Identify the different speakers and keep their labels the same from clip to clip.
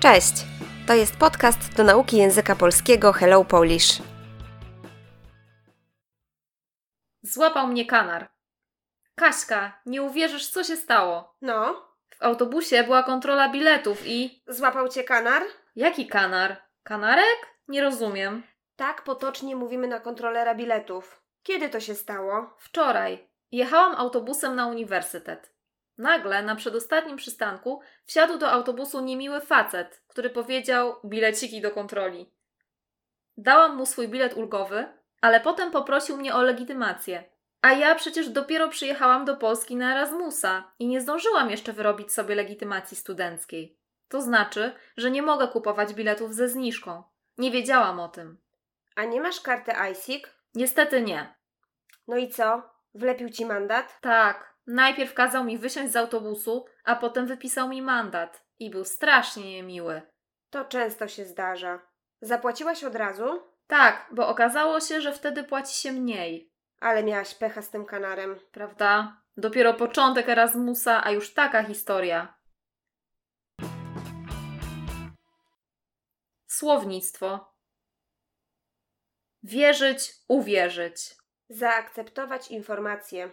Speaker 1: Cześć! To jest podcast do nauki języka polskiego Hello Polish.
Speaker 2: Złapał mnie kanar. Kaśka, nie uwierzysz, co się stało.
Speaker 1: No,
Speaker 2: W autobusie była kontrola biletów i.
Speaker 1: złapał cię kanar?
Speaker 2: Jaki kanar? Kanarek? Nie rozumiem.
Speaker 1: Tak potocznie mówimy na kontrolera biletów. Kiedy to się stało?
Speaker 2: Wczoraj jechałam autobusem na uniwersytet. Nagle na przedostatnim przystanku wsiadł do autobusu niemiły facet, który powiedział bileciki do kontroli. Dałam mu swój bilet ulgowy, ale potem poprosił mnie o legitymację. A ja przecież dopiero przyjechałam do Polski na Erasmusa i nie zdążyłam jeszcze wyrobić sobie legitymacji studenckiej. To znaczy, że nie mogę kupować biletów ze zniżką. Nie wiedziałam o tym.
Speaker 1: A nie masz karty ISIC?
Speaker 2: Niestety nie.
Speaker 1: No i co? Wlepił ci mandat?
Speaker 2: Tak. Najpierw kazał mi wysiąść z autobusu, a potem wypisał mi mandat. I był strasznie niemiły.
Speaker 1: To często się zdarza. Zapłaciłaś od razu?
Speaker 2: Tak, bo okazało się, że wtedy płaci się mniej.
Speaker 1: Ale miałaś pecha z tym kanarem.
Speaker 2: Prawda? Dopiero początek Erasmusa, a już taka historia. Słownictwo. Wierzyć, uwierzyć.
Speaker 1: Zaakceptować informacje.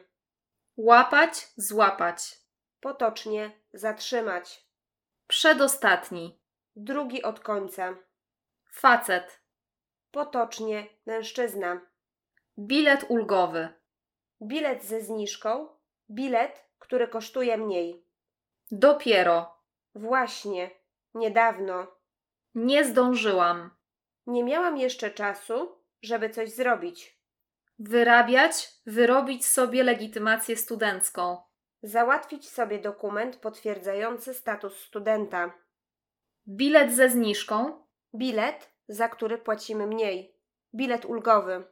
Speaker 2: Łapać, złapać.
Speaker 1: Potocznie zatrzymać.
Speaker 2: Przedostatni.
Speaker 1: Drugi od końca.
Speaker 2: Facet.
Speaker 1: Potocznie mężczyzna.
Speaker 2: Bilet ulgowy.
Speaker 1: Bilet ze zniżką. Bilet, który kosztuje mniej.
Speaker 2: Dopiero.
Speaker 1: Właśnie, niedawno.
Speaker 2: Nie zdążyłam.
Speaker 1: Nie miałam jeszcze czasu, żeby coś zrobić.
Speaker 2: Wyrabiać, wyrobić sobie legitymację studencką.
Speaker 1: Załatwić sobie dokument potwierdzający status studenta.
Speaker 2: Bilet ze zniżką.
Speaker 1: Bilet, za który płacimy mniej. Bilet ulgowy.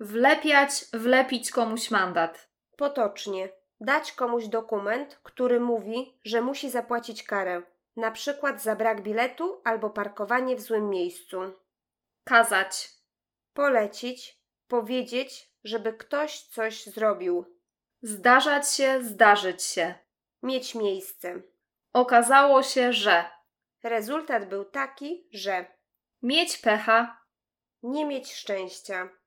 Speaker 2: Wlepiać, wlepić komuś mandat.
Speaker 1: Potocznie. Dać komuś dokument, który mówi, że musi zapłacić karę. Na przykład za brak biletu albo parkowanie w złym miejscu.
Speaker 2: Kazać.
Speaker 1: polecić, powiedzieć, żeby ktoś coś zrobił,
Speaker 2: Zdarzać się, zdarzyć się.
Speaker 1: mieć miejsce.
Speaker 2: Okazało się, że.
Speaker 1: Rezultat był taki, że
Speaker 2: Mieć pecha.
Speaker 1: nie mieć szczęścia,